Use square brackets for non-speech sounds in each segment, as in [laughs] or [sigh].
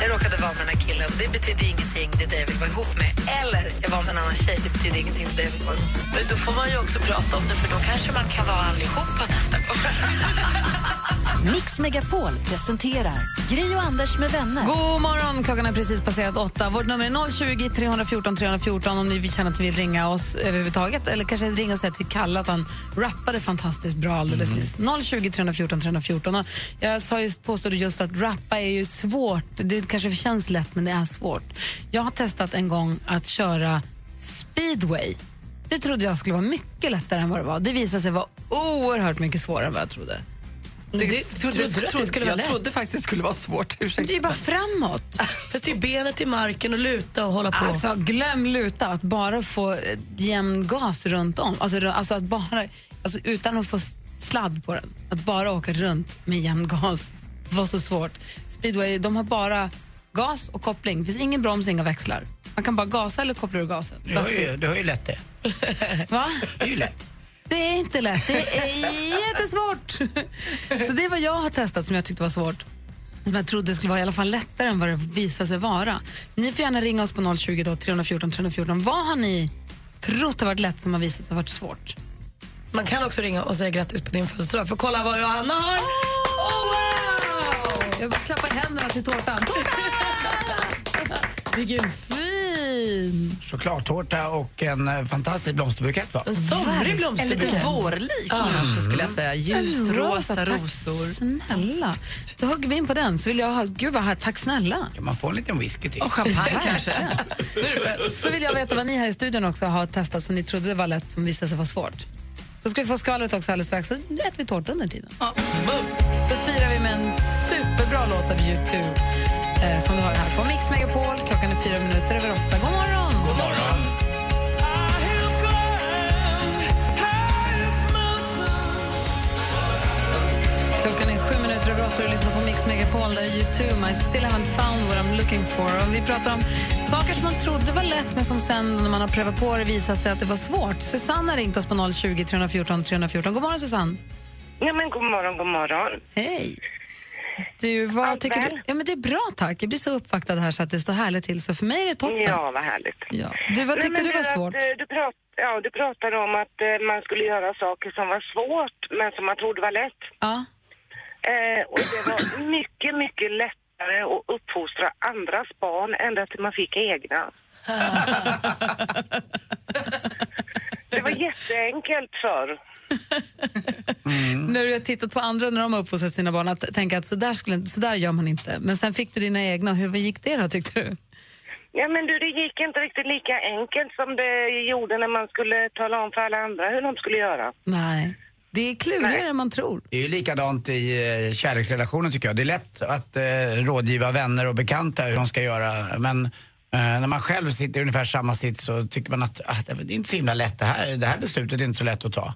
Jag råkade vara med den här killen. Det betyder ingenting, det är det jag vill vara ihop med. Eller jag var med en annan tjej, det betyder ingenting, det är det jag vill vara ihop med. Men då får man ju också prata om det, för då kanske man kan vara allihopa nästa gång. Mix Megapol presenterar Gri och Anders med vänner. God morgon, klockan är precis passerat åtta. Vårt nummer är 020 314 314 om ni vill känna att ni vill ringa oss överhuvudtaget. Eller kanske ringa och säga till Kalle att han rappade fantastiskt bra alldeles nyss. 020 314 314. Och Jag sa just, påstod just att rappa är ju svårt. Det kanske känns lätt, men det är svårt. Jag har testat en gång att köra speedway. Det trodde jag skulle vara mycket lättare än vad det var. Det visade sig vara oerhört mycket svårare än vad jag trodde. Det, trodde, trodde du att det skulle vara jag lätt? trodde faktiskt det skulle vara svårt. Det är ju Ursäkta. bara framåt. [laughs] Fast det är benet i marken och luta och hålla på. Alltså, glöm luta. Att bara få eh, jämn gas runt om. Alltså, ru- alltså att bara, alltså, utan att få s- sladd på den. Att bara åka runt med jämn gas [laughs] var så svårt. Speedway, de har bara gas och koppling. Det finns ingen broms, inga växlar. Man kan bara gasa eller koppla ur gasen. Du har, That's ju, it. du har ju lätt det. Va? [laughs] Det är ju lätt. Det är inte lätt. Det är jättesvårt. Så det är vad jag har testat som jag tyckte var svårt. Som jag trodde skulle vara i alla fall lättare än vad det visade sig vara. Ni får gärna ringa oss på 020 då, 314 314. Vad har ni trott har varit lätt som har visat sig ha varit svårt? Man kan också ringa och säga grattis på din födelsedag, för kolla vad Johanna har! Oh, wow! Jag klappar händerna till tårtan. [laughs] Tårta! Vilken fin! Chokladtårta och en eh, fantastisk blomsterbukett va? Mm. En somrig En blomsterbukett. lite vårlik kanske skulle jag säga. Ljusrosa rosor. Tack snälla. Då hugger vi in på den. Så vill jag ha, gud vad här, tack snälla. Kan man få en liten whisky till? Och champagne kanske. [laughs] Så vill jag veta vad ni här i studion också har testat som ni trodde var lätt som visade sig vara svårt. Så ska vi få skvallret också alldeles strax så äter vi tårta under tiden. Så firar vi med en superbra låt av U2 eh, som du har här på Mix Megapol. Klockan är fyra minuter över åtta. God morgon! God morgon! Klockan är sju minuter över åtta och du lyssnar på Mix Megapol där U2, I still haven't found what I'm looking for. Och vi pratar om saker som man trodde var lätt men som sen när man har prövat på det visar sig att det var svårt. Susanne har ringt oss på 020 314 314. God morgon Susanne! Ja, men god morgon, god morgon. Hej! Du, vad Allt tycker du? väl? Ja, men det är bra tack. Jag blir så uppvaktad här så att det står härligt till. Så för mig är det toppen. Ja, vad härligt. Ja. Du, vad Nej, tyckte men du var att, svårt? eh, Du, prat, ja, du pratade om att eh, man skulle göra saker som var svårt, men som man trodde var lätt. [laughs] Ja. [laughs] Eh, och det var mycket, mycket lättare att uppfostra andras barn ända till man fick egna. Det var jätteenkelt förr. Mm. När du har tittat på andra när de har uppfostrat sina barn att tänka att så där, skulle, så där gör man inte. Men sen fick du dina egna. Hur gick det då tyckte du? Ja, men du, det gick inte riktigt lika enkelt som det gjorde när man skulle tala om för alla andra hur de skulle göra. Nej. Det är klurigare Nej. än man tror. Det är ju likadant i eh, kärleksrelationen tycker jag. Det är lätt att eh, rådgiva vänner och bekanta hur de ska göra men eh, när man själv sitter i ungefär samma sitt så tycker man att ah, det är inte så himla lätt det här. Det här beslutet är inte så lätt att ta.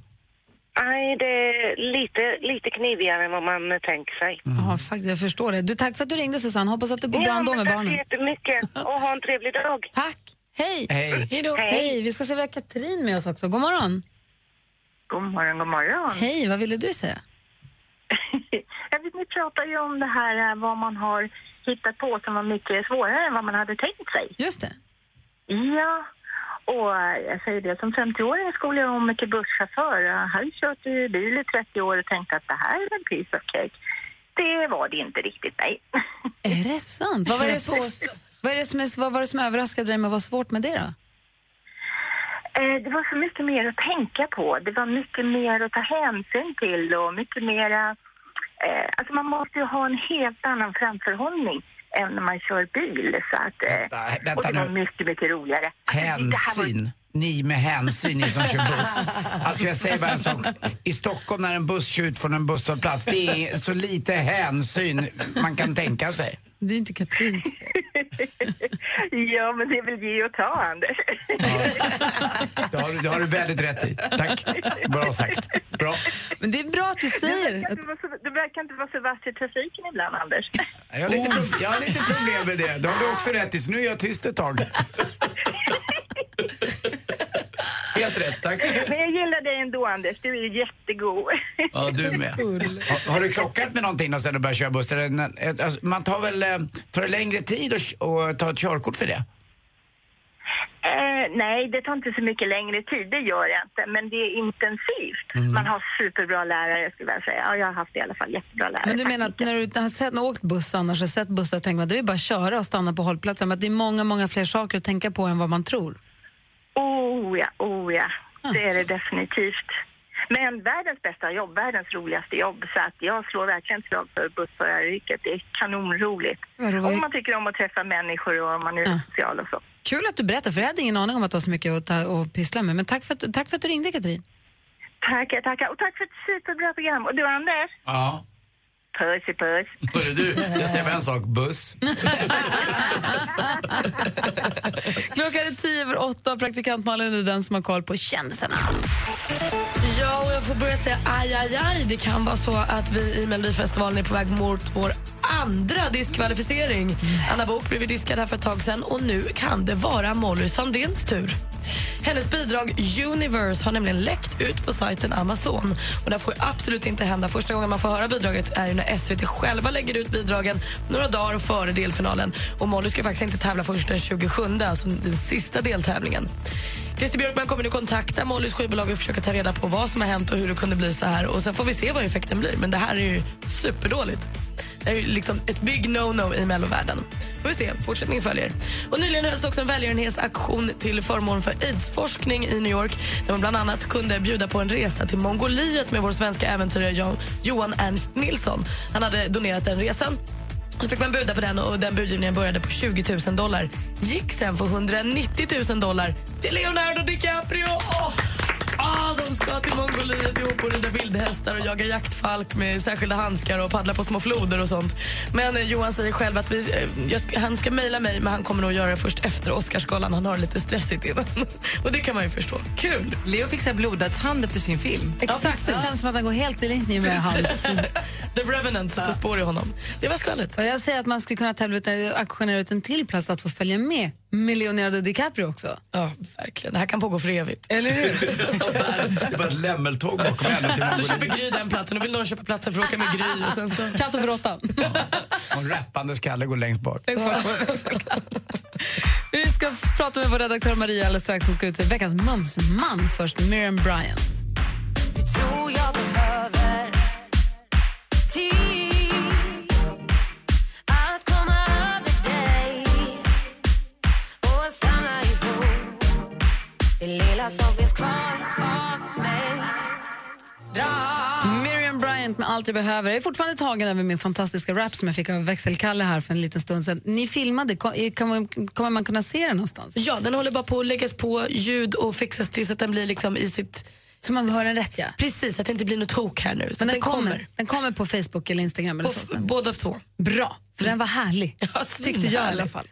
Nej, det är lite, lite knivigare än vad man eh, tänker sig. Ja, faktiskt, jag förstår det. Du, tack för att du ringde Susanne. Hoppas att det går bra ja, ändå men med Tack så barnen. jättemycket och ha en trevlig dag. Tack. Hej. Hej. Hej då. Hej. Vi ska se, vi har Katrin med oss också. God morgon. God morgon, god morgon. [laughs] Hej, vad ville du säga? Jag vet, ni pratar ju om det här eh, vad man har hittat på som var mycket svårare än vad man hade tänkt sig. Just det. Ja, och eh, jag säger det, som 50-åring skulle jag om till busschaufför. Jag hade kört i bil i 30 år och tänkte att det här är en piece of cake. Det var det inte riktigt, nej. [laughs] Är det sant? Vad var det, svår, vad är det, som, är, vad var det som överraskade dig med vad svårt med det då? Eh, Det var så mycket mer att tänka på. Det var mycket mer att ta hänsyn till och mycket mera... Eh, alltså man måste ju ha en helt annan framförhållning än när man kör bil. Så att, eh, Vänta, vänta och det var nu. mycket, mycket roligare. Alltså, det här var- Hänsyn. ni med hänsyn, ni som kör buss. Alltså jag säger bara en sak. I Stockholm när en buss kör ut från en busshållplats, det är så lite hänsyn man kan tänka sig. Det är inte [laughs] Katrins fel. [laughs] ja, men det är väl ge och ta, [laughs] Anders. Det har, du- det har du väldigt rätt i. Tack. Bra sagt. Bra. Men det är bra att du Du säger. verkar Att, inte vara så- Du verkar inte vara så vass i trafiken ibland, [laughs] Anders. Jag har lite, pro- jag har lite problem med det. Det har du också rätt i, så nu är jag tyst ett tag. Helt rätt, tack. Men jag gillar dig ändå, Anders. Du är ju jättegod. Ja, du med. Har, har du krockat med någonting då sen du började köra buss? Eller när- ett- Alltså, man tar väl, eh, tar det längre tid att k- att ta ett körkort för det? Eh, nej, det tar inte så mycket längre tid, det gör jag inte. Men det är intensivt. Mm. Man har superbra lärare, skulle jag säga. Ja, jag har haft i alla fall jättebra lärare. men du menar att när du har sett, när du har åkt buss annars och sett bussar tänker man det är bara att köra och stanna på hållplatsen. Men att det är många, många fler saker att tänka på än vad man tror. Oh ja, oh ja. Ah. Det är det definitivt. Men världens bästa jobb, världens roligaste jobb. Så att jag slår verkligen ett slag för bussföraryrket. Det är kanonroligt. Vad roligt. Ah. Om man tycker om att träffa människor och om man är Ja. social och så. Kul att du berättar, för jag hade ingen aning om att du har så mycket att, ta, att pyssla med. Men tack för att, du- tack för att du ringde, Katrin. Tackar, tackar. Och tack för ett superbra program. Och du, Anders? Ja. Puss i puss. Hörru du, jag säger bara en sak. Buss. Klockan är tio över åtta. Praktikant Malin är den som har koll på kändisarna. Ja, och jag får börja säga aj, aj, aj. Det kan vara så att vi i Melodifestivalen är på väg mot vår andra diskvalificering. Anna Bok blev ju diskad här för ett tag sedan och nu kan det vara Molly Sandéns tur. Hennes bidrag Universe har nämligen läckt ut på sajten Amazon. Och Det får ju absolut inte hända. Första gången man får höra bidraget är ju när SVT själva lägger ut bidragen några dagar före delfinalen. Och Molly ska ju faktiskt inte tävla först den 27, alltså den sista deltävlingen. Christer Björkman kommer nu kontakta Mollys skivbolag och försöka ta reda på vad som har hänt och hur det kunde bli så här. Och Sen får vi se vad effekten blir, men det här är ju superdåligt. Det är ju liksom ett big no-no i mellovärlden. Får vi se, fortsättning följer. Och nyligen hölls också en välgörenhetsaktion till förmån för aidsforskning i New York där man bland annat kunde bjuda på en resa till Mongoliet med vår svenska äventyrare Jo- Johan Ernst Nilsson. Han hade donerat den resan då fick man buda på den och den budgivningen började på 20 000 dollar. Gick sen för 190 000 dollar till Leonardo DiCaprio. Åh! Ah, de ska till Mongoliet ihop och rida vildhästar och jaga jaktfalk med särskilda handskar och paddla på små floder och sånt. Men eh, Johan säger själv att vi, eh, jag ska, han ska mejla mig men han kommer nog göra det först efter Oscarsgalan. Han har det lite stressigt innan. [laughs] Och det kan man ju förstå. Kul! Leo fixar blodad hand efter sin film. Exakt, det känns som att han går helt i linje med [laughs] hans. The Revenant sätter spår i honom. Det var skvallret. Och jag säger att man skulle kunna tävla ut, en- auktionera ut en till plats att få följa med med Leonardo DiCaprio också. Ja, verkligen. Det här kan pågå för evigt. Eller hur? Det är bara ett lämmeltåg bakom henne till Alltså, Så köper Mongoliet. Gry den platsen och vill någon köpa platsen för att åka med Gry. Och sen så... Katt och [laughs] råtta. Och rappandes Kalle går längst bak. [laughs] Vi ska prata med vår redaktör Maria alldeles strax som ska utse veckans mumsman först, Miriam Bryant. Miriam Bryant med Allt jag behöver. Jag är fortfarande tagen över min fantastiska rap som jag fick av Växelkalle här för en liten stund sedan. Ni filmade, Kom- är- kan man- kommer man kunna se den någonstans? Ja, den håller bara på att läggas på ljud och fixas till så att den blir liksom i sitt... Så man hör den rätt ja. Precis, att det inte blir något tok här nu. Så Men att den, kommer. Den kommer på Facebook eller Instagram eller På så. f- båda två. Bra, för den var härlig. Ja, Tyckte jag i alla fall.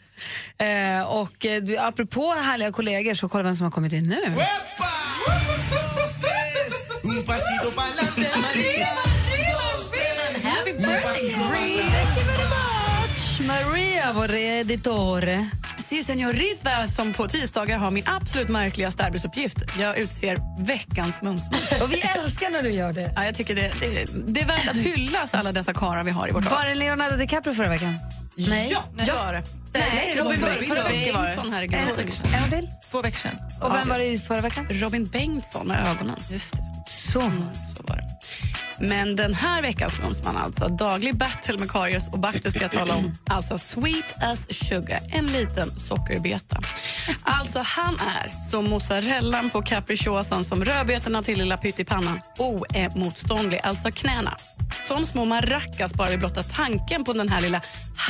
Eh, och eh, du, apropå härliga kollegor så kolla vem som har kommit in nu. Happy birthday, Maria! Thank you very much! Maria, vår editore. Si Senorita som på tisdagar har min absolut märkligaste arbetsuppgift. Jag utser veckans mumsman. [laughs] Och vi älskar när du gör det. Ja, jag tycker det, det, det är värt att hyllas alla dessa karlar vi har i vårt Var lag. det Leonardo DiCaprio förra veckan? Nej. Ja, det var det. Nej, Robin förra- förra veckan var det. Bengtsson, herregud. En, en gång till. Två veckor sedan. Och vem var det i förra veckan? Robin Bengtsson med ögonen. Just det. Så. Mm. Så var det. Men den här veckans mumsman, alltså daglig battle med karies och Baktus ska jag tala om. Alltså sweet as sugar, en liten sockerbeta. Alltså han är som mozzarellan på capricciosan, som rödbetorna till lilla pyttipannan. Oemotståndlig, alltså knäna. Som små maracas bara vid blotta tanken på den här lilla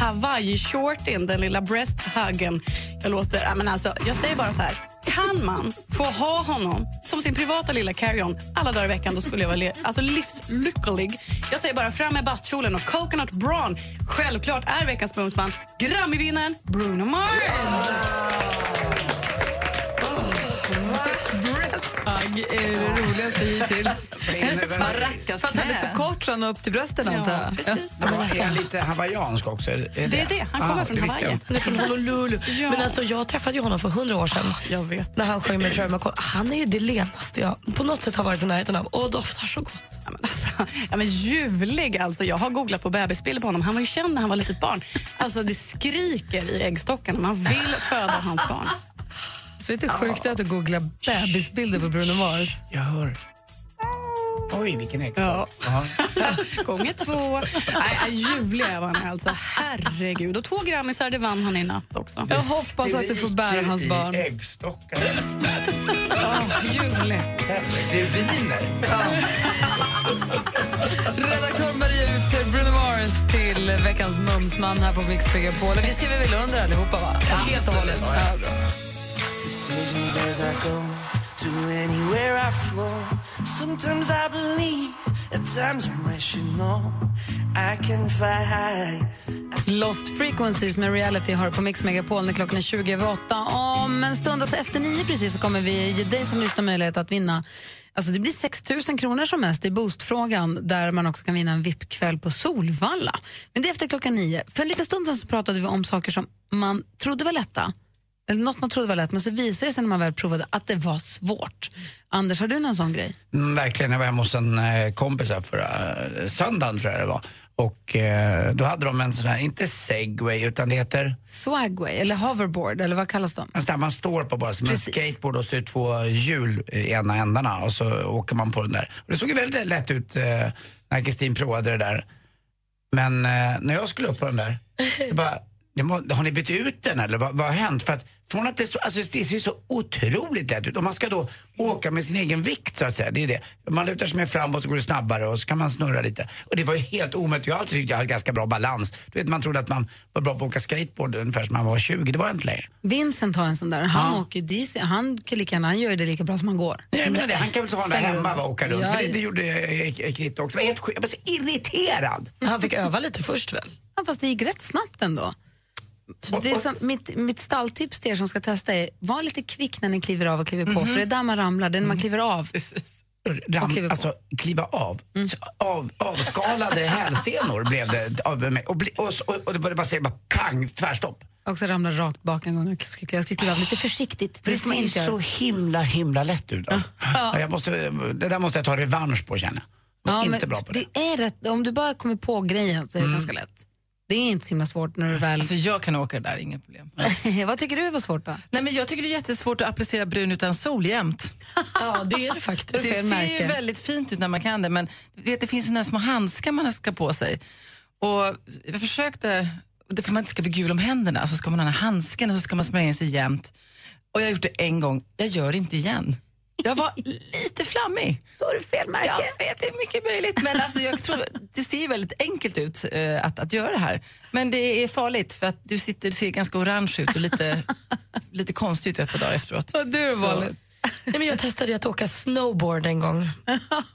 hawaii-shortin, den lilla breast huggen. Jag låter, ja, men alltså, jag säger bara så här. Kan man få ha honom som sin privata lilla carry-on alla dagar i veckan, då skulle jag vara le- alltså livslycklig. Jag säger bara fram med bastkjolen och coconut brawn. Självklart är veckans Bumsman Grammy-vinnaren Bruno Mars. Brösthugg är det roligaste hittills. För att [laughs] han är så kort så han har upp till brösten antar jag. Han var är han lite hawaiiansk också? Är det, Ah, Det är det. Han Ah, kommer från det visste jag Hawaii. inte. Han är från [laughs] Honolulu. Men alltså, jag träffade ju honom för hundra år sedan. Ah, Jag vet. När han sjöng med Troy McCoy. Han är ju det lenaste jag på något sätt har varit i närheten av. Och doftar så gott. Ja, men alltså, ja, men ljuvlig alltså. Jag har googlat på bebisbilder på honom. Han var ju känd när han var litet barn. Alltså det skriker i äggstockarna. Man vill föda hans barn. [laughs] Så det är sjukt att du googlar bebisbilder på Bruno Mars. Jag hör. Oj, vilken ägg. Ja. Ja. [laughs] Gånger två. Nej, nej, ljuvlig är han är alltså. Herregud. Och två grammisar, det vann han i natt också. Jag hoppas att du får bära hans barn. I äggstockar. Oh, ljuvlig. Det är viner. Redaktör Maria utser Bruno Mars till veckans Mumsman här på Mix Megapol. Vi skriver väl under allihopa, va? Helt och hållet. Ja. Lost Frequencies med Reality har på Mix Megapol när klockan är 20 över åtta. Om en stund, alltså efter nio precis, så kommer vi ge dig som lyssnar möjlighet att vinna Alltså det blir 6 000 kronor som mest i Boostfrågan där man också kan vinna en VIP-kväll på Solvalla. Men det är efter klockan nio. För en liten stund sedan så pratade vi om saker som man trodde var lätta. Eller något man trodde var lätt, men så visade det sig när man väl provade att det var svårt. Anders, har du någon sån grej? Mm, verkligen, jag var hemma hos en eh, kompis här förra eh, söndagen tror jag det var. Och eh, då hade de en sån här, inte segway utan det heter, Swagway eller hoverboard, eller vad kallas de? alltså där man står på bara som Liksom. Precis. en skateboard och så är det två hjul i ena ändarna och så åker man på den där. Och det såg ju väldigt lätt ut eh, när Kristin provade det där. Men eh, när jag skulle upp på den där, jag bara, det må, har ni bytt ut den eller vad, vad har hänt? För att från att det, så, alltså, det ser ju så otroligt lätt ut. Och man ska då åka med sin egen vikt så att säga. Det är det. Man lutar sig mer framåt så går det snabbare och så kan man snurra lite. Och det var ju helt omöjligt. Jag har alltid tyckt jag hade ganska bra balans. Du vet, man trodde att man var bra på att åka skateboard ungefär som man var 20. Det var jag inte längre. Vincent har en sån där. Han åker ju DC. Han, kan lika gärna, han gör ju det lika bra som han går. Jag menar det, han kan väl så ha den där Svänger hemma runt. och åka runt. Ja, För det, ja. det gjorde eh, Kritte också. Det var helt sjukt. Jag var så irriterad. Han fick öva lite först väl? Ja, fast det gick rätt snabbt ändå. Det är som, mitt, mitt stalltips till er som ska testa är, var lite kvick när ni kliver av och kliver på, Mhm. för det är där man ramlar, det är när Mm. man kliver av. Ram, Och kliver på. Mm. alltså, kliva av. Så Av, [laughs] avskalade hälsenor blev det av mig. Och, bli, och, och, och det bara, bara säger bara pang, tvärstopp. Och så ramlade rakt bak en gång. när Jag skulle kliva- jag skulle kliva av lite försiktigt. Det Det ska man inte ser så göra. himla, himla lätt ut. Alltså. Ja. Jag måste, det där måste jag ta revansch på känner jag. Jag är inte men bra på det. Mm. det är rätt, om du bara kommer på grejen så är det ganska lätt. Det är inte så himla svårt när du väl... Alltså jag kan åka det där, inga problem. Alltså- [laughs] Vad tycker du var svårt då? Nej, men jag tycker det är jättesvårt att applicera brun utan sol jämt. [laughs] Ja, det är det faktiskt. Det fel ser märke. ju väldigt fint ut när man kan det, men du vet, det finns såna här små handskar man ska på sig. Och jag försökte, och det- för man inte ska bli gul om händerna, så ska man ha den här handsken och så ska man smörja in sig jämt. Och jag har gjort det en gång, jag gör det inte igen. Jag var lite flammig. Då är det fel märke. Jag vet, det är mycket möjligt. Men alltså, jag tror, det ser ju väldigt enkelt ut eh, att, att göra det här. Men det är farligt för att du sitter, ser ganska orange ut [laughs] och lite, lite konstig ut ett par dagar efteråt. Vad du Så- Nej, men jag testade ju att åka snowboard en gång.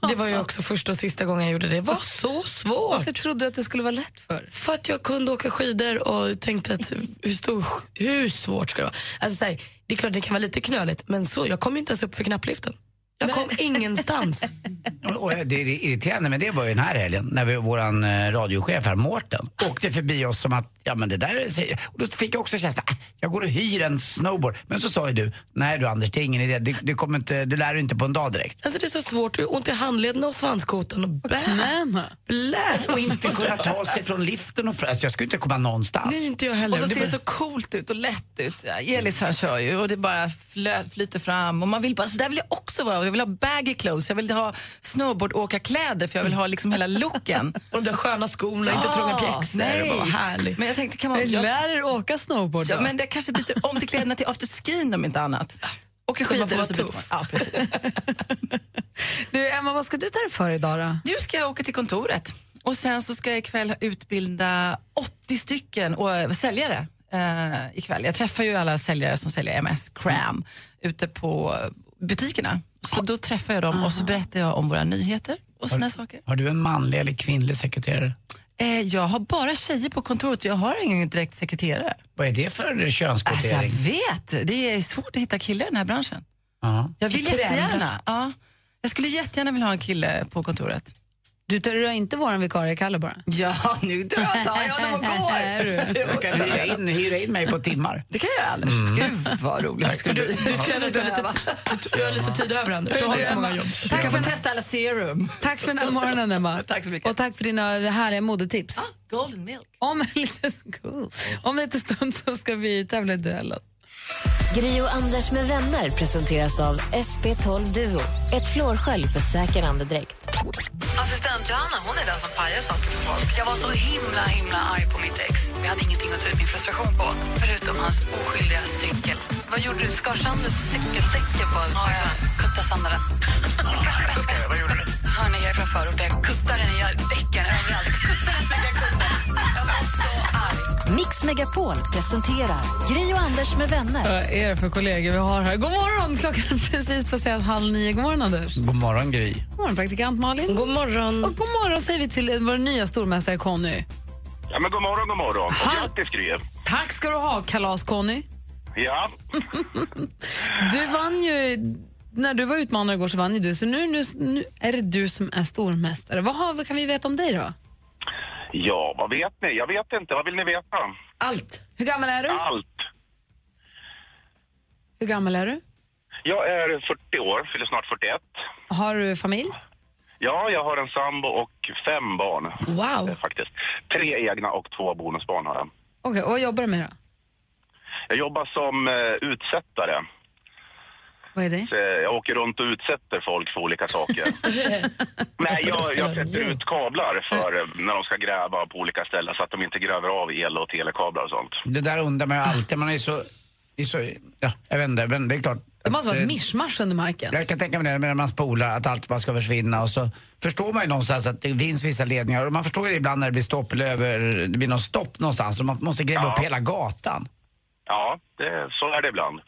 Det [laughs] var ju också första och sista gången jag gjorde det. Det var så svårt! Varför trodde du att det skulle vara lätt för? För att jag kunde åka skidor och tänkte att hur, stor, hur svårt ska det vara? Alltså, så här, det är klart det kan vara lite knöligt men så, jag kom ju inte ens upp för knappliften. Jag kom [laughs] ingenstans. Alltså Och och det är irriterande men det var ju den här helgen när vi, våran eh, radiochef här, Mårten, åkte förbi oss som att, ja men det där är... se- Och då fick jag också känslan, "Ah, jag går och hyr en snowboard. Men så sa ju du, nej du Anders, det är ingen idé, det, det, kommer inte, det lär du inte på en dag direkt. Alltså det är så svårt, och ont i handlederna och svanskotan och blä, Knäna. [laughs] blä. Och inte kunna ta sig från liften och fram, alltså, jag skulle inte komma någonstans. Nej, inte jag heller. Och så Det ser var- det så coolt ut och lätt ut. Ja, Elis här kör ju och det bara flö, flyter fram och man vill bara, så där vill jag också vara. Jag vill ha baggy clothes, jag vill ha snowboardåkarkläder för jag vill ha liksom hela looken. [laughs] Och de där sköna skorna, inte Ja, trånga pjäxor. nej. Vad härligt. Men jag tänkte, kan man... Jag, Lär er åka snowboard ja, då. men det kanske byter om till kläderna till afterskin om inte annat. Åker Så man får vara skidor och så byter man. tuff. Ja, precis. Du, Emma, vad ska du ta dig för idag då? Nu ska jag åka till kontoret och sen så ska jag ikväll utbilda 80 stycken och, säljare eh, ikväll. Jag träffar ju alla säljare som säljer MS-cram ute på butikerna. Så då träffar jag dem och så berättar jag om våra nyheter och såna saker. Har du en manlig eller kvinnlig sekreterare? Eh, jag har bara tjejer på kontoret, jag har ingen direkt sekreterare. Vad är det för Alltså, jag könskvotering? vet, det är svårt att hitta killar i den här branschen. Ja. Jag vill Det är jättegärna. förändrat. Ja. Jag skulle jättegärna vilja ha en kille på kontoret. Du tar du har inte våran vikarie Kalle bara? Ja, nu dödar jag dem och [laughs] Är du? går. Du kan hyra in, hyra in mig på timmar. Det kan jag göra, Anders. Mm. Gud vad roligt det skulle bli. Du skulle ändå ha lite, du har lite tid över Anders. Du har inte så många jobb. Tack för, testa alla serum. tack för den här morgonen, Emma. [laughs] Tack så mycket. Ah, Och tack för dina härliga modetips. Golden milk. Om en liten, cool. Om en liten stund så ska vi tävla i duellen. Gri och Anders med vänner presenteras av SP12 Duo. Ett flårskölj för säker andedräkt. Assistent Johanna hon är den som pajar saker för folk. Jag var så himla himla arg på mitt ex. Jag hade ingenting att ta ut min frustration på, förutom hans oskyldiga cykel. Vad gjorde du? Skar sönder cykeldäcken på Ja, jag kuttade sönder den. Vad gjorde du? Hörni, jag är från förorten. Jag kuttade den i däcken överallt. Kuttade så mycket jag kunde. Jag var så arg. Mix Megapol presenterar Gri och Anders med vänner. Vad är det för kollegor vi har här? God morgon! Klockan är precis passerat halv nio. God morgon, Anders. God morgon, Gry. God morgon, praktikant Malin. God morgon. Och god morgon säger vi till vår nya stormästare Conny. Ja, men god morgon, god morgon. Och Aha. grattis, Gry. Tack ska du ha, kalas-Conny. Ja, Du vann ju... När du var utmanare igår så vann ju du, så nu, nu, nu är det du som är stormästare. Vad har, vad kan vi veta om dig då? ja, vad vet ni? Jag vet inte. Vad vill ni veta? Allt. Hur gammal är du? Allt. Hur gammal är du? Jag är 40 år, fyller snart 41. Har du familj? Ja, jag har en sambo och fem barn. Wow. eh, Faktiskt. Tre egna och två bonusbarn har jag. Okej, och vad jobbar du med då? Jag jobbar som eh, utsättare. Vad är [laughs] det? Så jag åker runt och utsätter folk för olika saker. Nej, jag, jag sätter ut kablar för eh, när de ska gräva på olika ställen så att de inte gräver av el och telekablar och sånt. Det där undrar man ju alltid. Man är så... Är så ja, jag vet inte, men det är klart. Det måste vara att, ett eh, mischmasch under marken. Jag kan tänka mig det när man spolar, att allt bara ska försvinna och så förstår man ju någonstans att det finns vissa ledningar och man förstår ju ibland när det blir stopp eller över, det blir något stopp någonstans och man måste gräva Ja. upp hela gatan. Ja, det, så är det ibland.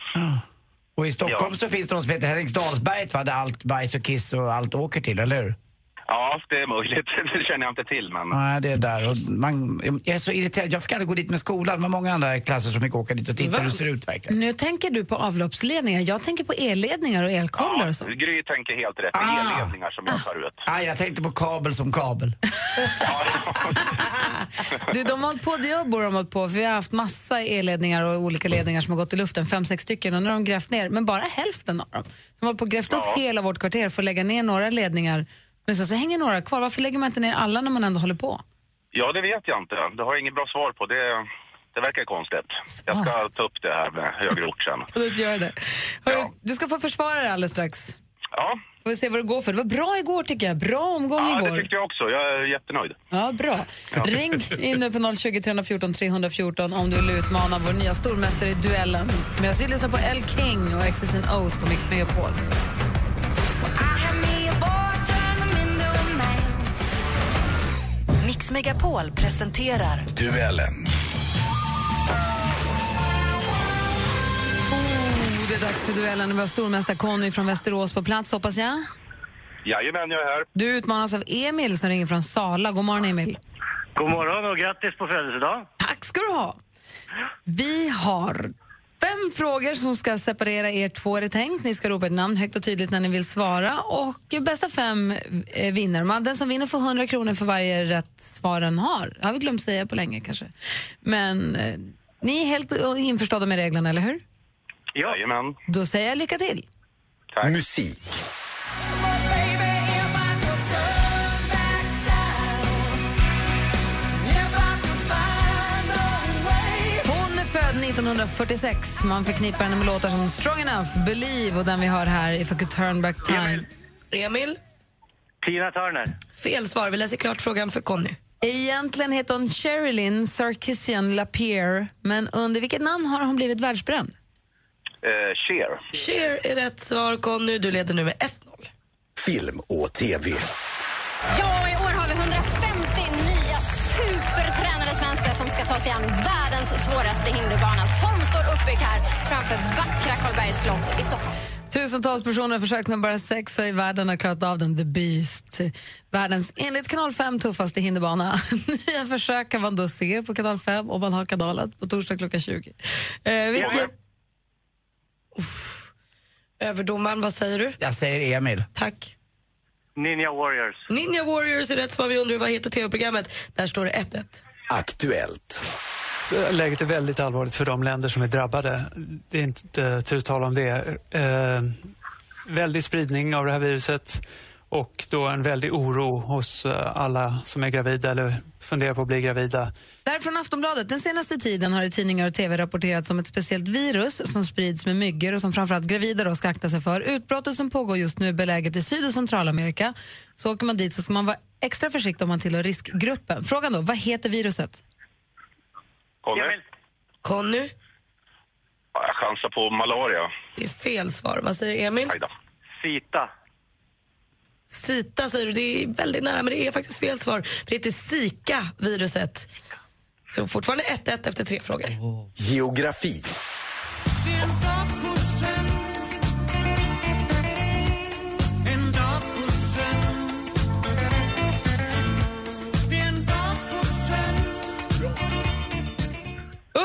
Och i Stockholm Ja. så finns det något som heter Henriksdalsberget va, där allt bajs och kiss och allt åker till, eller hur? Ja, det är möjligt. [laughs] Det känner jag inte till, men... Nej, det är där. Och man, jag är så irriterad. Jag fick aldrig gå dit med skolan. Det var många andra klasser som fick åka dit och titta hur det ser ut verkligen. Nu tänker du på avloppsledningar. Jag tänker på elledningar och elkablar och så. Gry tänker helt rätt. Det är Ah. elledningar som jag tar ut. Ah, jag tänkte på kabel som kabel. [laughs] Du, de har hållit på, det jag bor har de hållit på, för vi har haft massa elledningar och olika ledningar som har gått i luften, fem, sex stycken, och nu har de grävt ner, men bara hälften av dem. Så de har hållit på och grävt upp Ja. hela vårt kvarter för att lägga ner några ledningar, men sen så hänger några kvar. Varför lägger man inte ner alla när man ändå håller på? [laughs] [laughs] Ja, det vet jag inte. Det har jag inget bra svar på. Det, det verkar konstigt. Jag ska ta upp det här med högre ort sen. Och då gör det. Hörru, Du ska få försvara dig alldeles strax. Ja, Får vi se vad det går för. Det var bra igår tycker jag. Bra omgång ja det igår. tyckte jag också. Jag är jättenöjd. Ja, bra. Ring in nu på 020 314 314 om du vill utmana vår nya stormästare i duellen. Medan vi lyssnar på El King och X's and O's på Mix Megapol. Oh, Mix Megapol presenterar Oh, det är dags för duellen. Vi har stormästare Conny från Västerås på plats, hoppas jag. Jajamän, jag är här. Du utmanas av Emil som ringer från Sala. God morgon, Emil. God morgon och grattis på födelsedag. Tack ska du ha. Vi har fem frågor som ska separera er två, är det tänkt. Ni ska ropa ett namn högt och tydligt när ni vill svara. Och bästa fem eh, vinner. Man- Den som vinner får 100 kronor för varje rätt svar den har. har vi glömt säga på länge kanske. Men eh, ni är helt eh, införstådda med reglerna, eller hur? Jajamän. Då säger jag lycka till. Tack. Musik. Hon är född 1946. Man förknippar henne med låtar som Strong Enough, Believe och den vi hör här, If I could turn back time. Emil. Tina Turner. Fel svar. Vi läser klart frågan för Conny. Egentligen heter hon Sherilyn Sarkisian Lapierre, men under vilket namn har hon blivit världsberömd? Eh, Cher. Cher är rätt svar Conny. Du leder nu med 1-0. Film och TV. Ja, i år har vi 150 nya supertränade svenskar som ska ta sig an världens svåraste hinderbana som står uppbyggd här framför vackra Karlbergs slott i Stockholm. Tusentals personer har försökt men bara sex i världen har klarat av den, The Beast. Världens enligt kanal 5 tuffaste hinderbana. [laughs] Nya försök kan man då se på kanal 5 om man har kanalet på torsdag klockan 20. Eh, vilket... Överdomaren, vad säger du? Jag säger Emil. Tack. Ninja Warriors. Ninja Warriors är rätt svar. Vi undrar vad heter tv-programmet? Där står det 1-1. Aktuellt. Läget är väldigt allvarligt för de länder som är drabbade. Det är inte tu tal om det. Eh, väldig spridning av det här viruset och då en väldig oro hos eh, alla som är gravida eller funderar på att bli gravida. Där från Aftonbladet. Den senaste tiden har i tidningar och tv rapporterats om ett speciellt virus som sprids med myggor och som framförallt gravida då ska akta sig för. Utbrottet som pågår just nu är beläget i Syd och Centralamerika. Så åker man dit så ska man vara extra försiktig om man tillhör riskgruppen. Frågan då, vad heter viruset? Conny? Conny? Ja, Jag chansar på malaria. Det är fel svar. Vad säger Emil? Sita. Sita säger du. Det är väldigt nära, men det är faktiskt fel svar. För Det heter Zika-viruset. Så fortfarande 1-1 efter tre frågor. Geografi.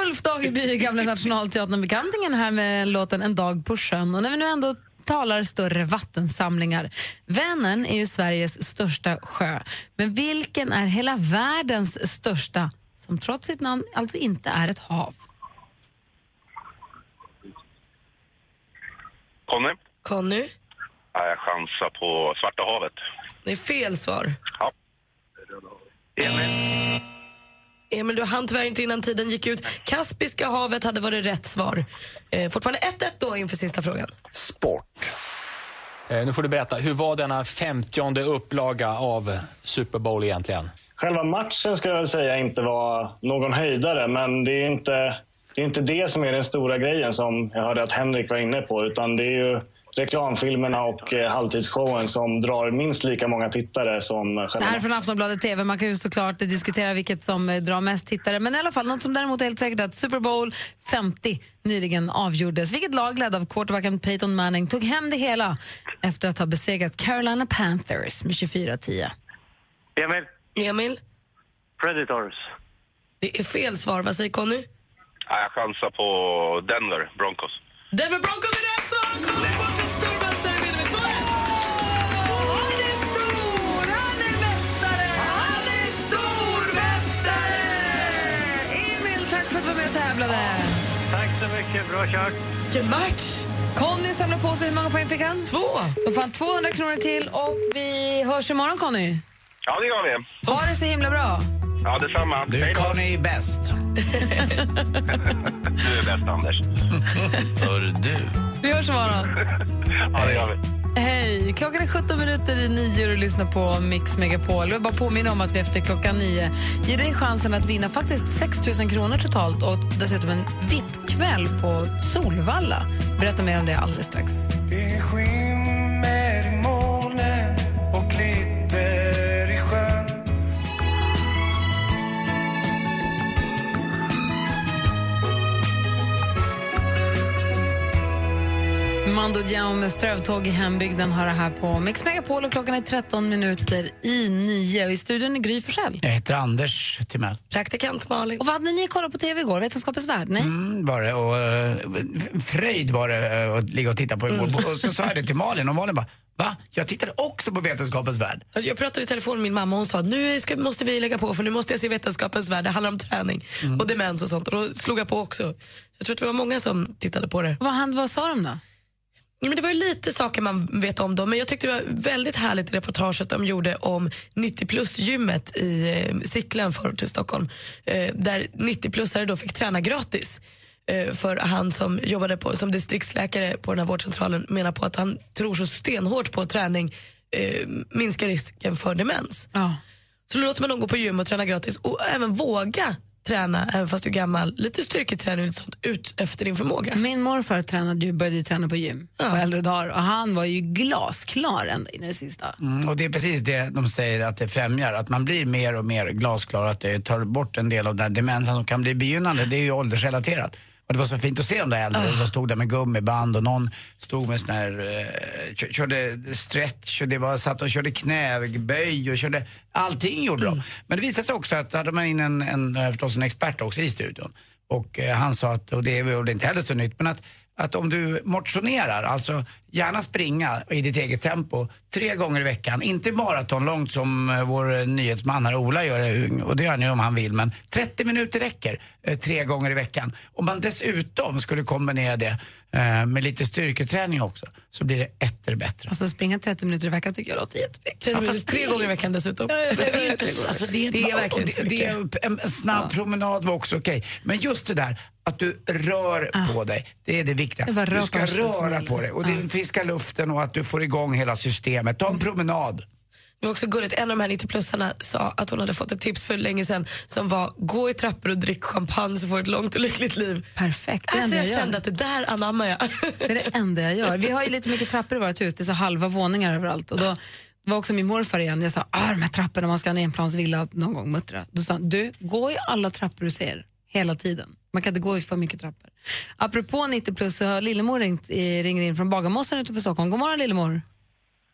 Ulf Dageby, gamla nationalteaterbekantingen här med låten En dag på sjön. Och när vi nu ändå talar större vattensamlingar. Vänern är ju Sveriges största sjö, men vilken är hela världens största som trots sitt namn alltså inte är ett hav? Conny? Conny? Ja, Jag chansar på Svarta havet. Det är fel svar. Ja. Emil, du hann tyvärr inte innan tiden gick ut. Kaspiska havet hade varit rätt svar. Eh, fortfarande 1-1 då inför sista frågan. Sport. Eh, nu får du berätta, hur var denna 50 upplaga av Super Bowl egentligen? Själva matchen ska jag säga inte var någon höjdare, men det är inte det, är inte det som är den stora grejen som jag hörde att Henrik var inne på, utan det är ju reklamfilmerna och eh, halvtidsshowen som drar minst lika många tittare som Det själva här är från Aftonbladet TV. Man kan ju såklart diskutera vilket som eh, drar mest tittare. Men i alla fall, något som däremot är helt säkert är att Super Bowl 50 nyligen avgjordes. Vilket lag ledd av quarterbacken Peyton Manning tog hem det hela efter att ha besegrat Carolina Panthers med 24-10. Emil? Emil? Predators. Det är fel svar. Vad säger Conny? Ja, Jag chansar på Denver Broncos. Denver Broncos är rätt svar! Conny är fortsatt stormästare vinner med 2-1! Han är stor! Han är mästare! Han är stormästare! Emil, tack för att du var med och tävlade. Tack så mycket, bra kört. Vilken match! Conny samlar på sig. Hur många poäng fick han? Två. Då får han 200 kronor till och vi hörs imorgon, Conny. Ja, det gör vi. Ha det så himla bra. Ja, detsamma. Du, Hej då. Conny är bäst. Du är bäst, Anders. Hör du. Vi hörs imorgon. Ja, det gör vi. Hej! Klockan är 17 minuter i nio och du lyssnar på Mix Megapol. Jag vill bara påminna om att vi efter klockan nio ger dig chansen att vinna faktiskt 6 000 kronor totalt och dessutom en VIP-kväll på Solvalla. Berätta mer om det alldeles strax. Det är skimmer i molnen och glitter i sjön Mando Diao med strövtåg i hembygden har det här på Mix Megapol och klockan är 13 minuter i nio. Och I studion är Gry Forssell. Jag heter Anders Timell. Praktikant Malin. Och vad hade ni kollat på tv igår? Vetenskapens värld? Nej? Mm, var det. Och, eh, fröjd var det eh, att ligga och titta på igår. Och så sa jag det till Malin och Malin bara, va? Jag tittade också på Vetenskapens värld. Alltså, Jag pratade i telefon med min mamma och hon sa att nu ska, måste vi lägga på för nu måste jag se Vetenskapens värld. Det handlar om träning och demens och sånt. Och då slog jag på också. Jag tror att det var många som tittade på det. Vad, han, vad sa de då? Ja, Men det var ju lite saker man vet om dem, men jag tyckte det var väldigt härligt reportaget de gjorde om 90 plus-gymmet i eh, Sickla, förort till Stockholm. Eh, där 90-plussare då fick träna gratis. Eh, för han som jobbade på, som distriktsläkare på den här vårdcentralen menar på att han tror så stenhårt på att träning eh, minskar risken för demens. Ja. Så då låter man dem gå på gym och träna gratis och även våga träna även fast du är gammal. Lite styrketräning och lite sånt ut efter din förmåga. Min morfar tränade, ju- började ju träna på gym på äldre dagar och han var ju glasklar ända in i det sista. Mm, och det är precis det de säger att det främjar, att man blir mer och mer glasklar, att det tar bort en del av den här demensen som kan bli begynnande, det är ju åldersrelaterat. Och det var så fint att se de där äldre som stod där med gummiband och någon stod med sån här, eh, kö- körde stretch och det var, satt och körde knäböj och körde, allting gjorde de. Men det visade sig också att då hade man in en, en, eh, förstås en expert också i studion. Och eh, han sa att, och det är väl inte heller så nytt, men att, att om du motionerar, alltså gärna springa i ditt eget tempo tre gånger i veckan, inte maratonlångt som eh, vår eh, nyhetsman här Ola gör, eh, och det gör han ju om han vill, men 30 minuter räcker eh, tre gånger i veckan. Om man dessutom skulle kombinera det eh, med lite styrketräning också, så blir det etter bättre. Alltså springa 30 minuter i veckan tycker jag låter jättemycket. Ja, fast Tre gånger i veckan dessutom. Fast det är inte- alltså, det är- Det är verkligen inte så och det- mycket. det är En en snabb promenad var också okej. Men just det där att du rör på dig, det är det viktiga. Det var du ska röparslet som röra gäller. på dig och den friska luften och att du får igång hela systemet. Ta en promenad. Det var också gulligt, en av de här 90-plussarna sa att hon hade fått ett tips för länge sedan som var gå i trappor och drick champagne så får du ett långt och lyckligt liv. Perfekt. det Alltså enda jag jag gör. kände att det där anammar jag. Det är det enda jag gör. Vi har ju lite mycket trappor i vårt hus, det är så halva våningar överallt. Och då var också min morfar igen, jag sa ah, de här trapporna, man ska ha en enplansvilla någon gång muttra. Då sa han, du, gå i alla trappor du ser, hela tiden. Man kan inte gå i för mycket trappor. Apropå 90 plus så har Lillemor ringt, eh, ringer in från Bagarmossen utanför Stockholm. God morgon Lillemor.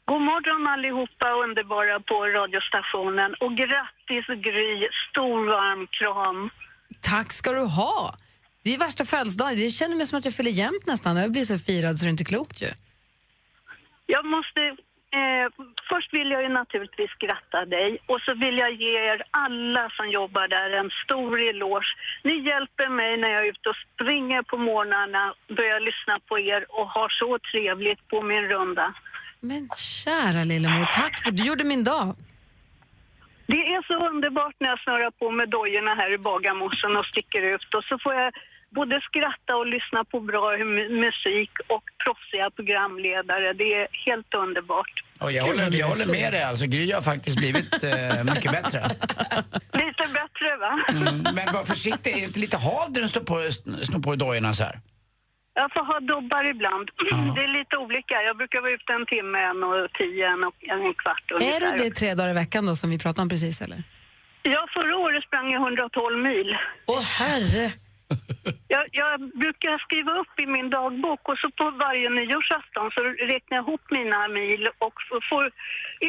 God morgon allihopa underbara på radiostationen och grattis Gry, stor varm kram. Tack ska du ha. Det är värsta födelsedagen, det känner mig som att jag fyller jämnt nästan. Jag blir så firad så det är inte klokt ju. Jag måste, eh, först vill jag ju naturligtvis gratta dig och så vill jag ge er alla som jobbar där en stor eloge. Ni hjälper mig när jag är ute och springer på morgnarna, börjar lyssna på er och har så trevligt på min runda. Men kära Lillemor, tack för du gjorde min dag. Det är så underbart när jag snurrar på med dojorna här i Bagarmossen och sticker ut och så får jag både skratta och lyssna på bra mu- musik och proffsiga programledare. Det är helt underbart. Och jag, Gud, vad håller, du är jag håller fin. med dig, alltså, Gry har faktiskt blivit eh, mycket bättre. Lite bättre va? Mm, men var försiktig, är det inte lite halt när du står på, snor på dig dojorna så här? Jag får ha dobbar ibland. [clears throat] Det är lite olika. Jag brukar vara ute en timme, en och tio, en och en kvart Är ungefär. du det tre dagar i veckan då som vi pratade om precis eller? Ja, förra året sprang jag 112 mil. Åh herre! Jag, jag brukar skriva upp i min dagbok och så på varje nyårsafton så räknar jag ihop mina mil och f- får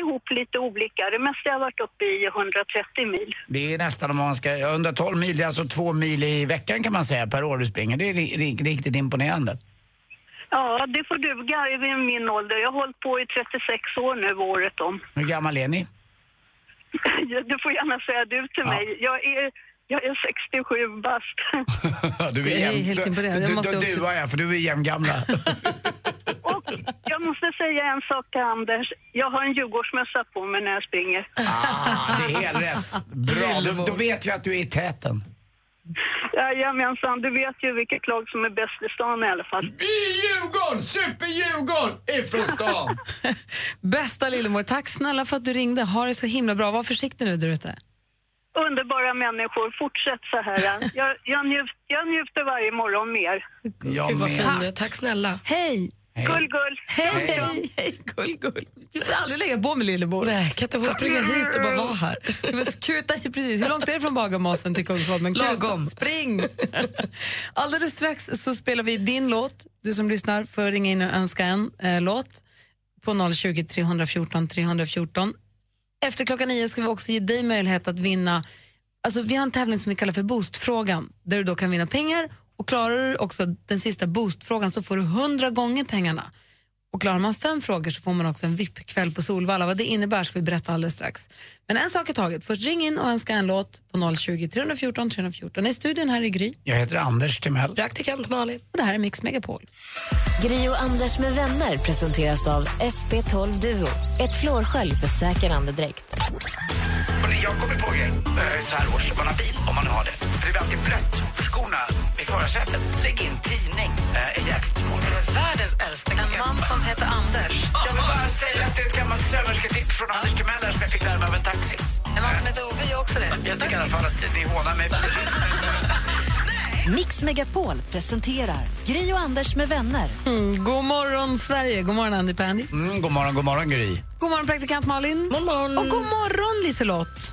ihop lite olika. Det mesta jag har varit uppe i är 130 mil. Det är nästan om man ska, ja, 112 mil, det är alltså två mil i veckan kan man säga per år du springer. Det är ri, ri, riktigt imponerande. Ja, det får duga i min ålder. Jag har hållit på i 36 år nu året om. [laughs] Hur gammal är ni? Du får gärna säga du till mig. Jag är, jag är 67 bast. [laughs] Du Jag är jämn- helt imponerad. Jag Du, måste du, också- du var jag, för du är [laughs] jämngamla. Jag måste säga en sak till Anders. Jag har en Djurgårdsmössa på mig när jag springer. Ah, det är helt rätt. Bra, då, då vet jag att du är i täten. Jajamensan, du vet ju vilket lag som är bäst i stan i alla fall. Vi är Djurgården! Super-Djurgården ifrån stan! Bästa Lillemor, tack snälla för att du ringde. Ha det så himla bra. Var försiktig nu där ute. Underbara människor, fortsätt så här. Jag, jag, njut, jag njuter varje morgon med er. [laughs] Jag Gud vad med. fin du är. tack snälla. Hej! Gull, gull. Hej! Hej, gull, gull. Du får aldrig lägga på med Lillemor. Nej, kan inte hon springa hit och bara vara här? Du får skuta hit precis. Hur långt är det från Bagarmossen till Kungsholmen? Kuta. Lagom. Spring! [laughs] Alldeles strax så spelar vi din låt. Du som lyssnar får ringa in och önska en eh, låt på 020 314 314. Efter klockan nio ska vi också ge dig möjlighet att vinna. Alltså, vi har en tävling som vi kallar för Boostfrågan där du då kan vinna pengar och klarar du också den sista Boostfrågan så får du 100 gånger pengarna. Och klarar man fem frågor så får man också en VIP-kväll på Solvalla. Vad det innebär ska vi berätta alldeles strax. Men en sak i taget. Först ring in och önska en låt på 020 314 314. I studion här i Gry. Jag heter Anders Timell. Praktikant Malin. Och det här är Mix Megapol. Gri och Anders med vänner presenteras av SP12 Duo. Ett flårskölj för säker andedräkt. Hörrni, Jag kommer på en grej eh, så här års, om man har bil, om man nu har det. det blir alltid blött för skorna i förarsätet. Lägg in tidning. Eh, är jäkligt smart. Världens äldsta En man som heter Anders. Jag vill bara säga att det är ett gammalt sömmersketips från Anders Timell som jag fick lära mig av en taxi. En man som heter Ove gör också det. Jag tycker i alla fall att ni hånar mig. Mix Megapol presenterar Gri och Anders med vänner. Mm, god morgon, Sverige. God morgon, Andy Pandy. Mm, god morgon, god morgon Gry. God morgon, praktikant Mm. Malin. God morgon. Och god morgon, Liselott.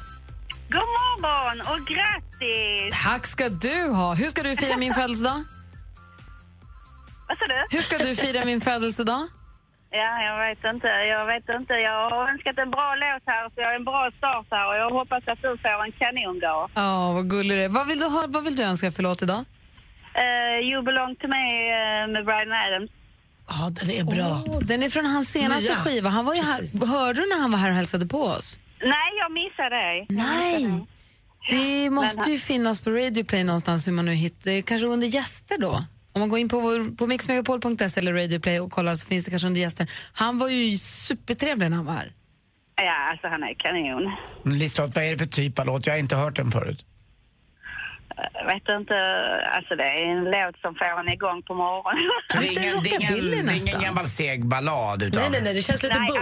God morgon och grattis! Tack ska du ha. Hur ska du fira min födelsedag? Vad sa du? Hur ska du fira min födelsedag? Ja, jag vet inte. Jag vet inte. Jag har önskat en bra låt här, så jag har en bra start här och jag hoppas att du får en kanondag. Ja, vad gullig du är. Vad vill du, ha, vad vill du önska för låt idag? Uh, you belong to me eh, med Brian Adams. Ja, den är bra. Åh, den är från hans senaste Nya. skiva. Han var ju här, hörde du när han var här och hälsade på oss? Nej, jag missade dig. Nej! Det måste ju finnas på Radioplay någonstans, hur man nu hittar det. är Kanske under gäster då? Om man går in på, vår- på mixmegapol.se eller Radioplay och kollar så finns det kanske under gäster. Han var ju supertrevlig när han var här. Ja, alltså han är kanon. Liselott, vad är det för typ av låt? Jag har inte hört den förut. Jag vet inte. Alltså det är en låt som får en igång på morgonen. Det är ingen, det är ingen, det är ingen gammal seg ballad utan... nej,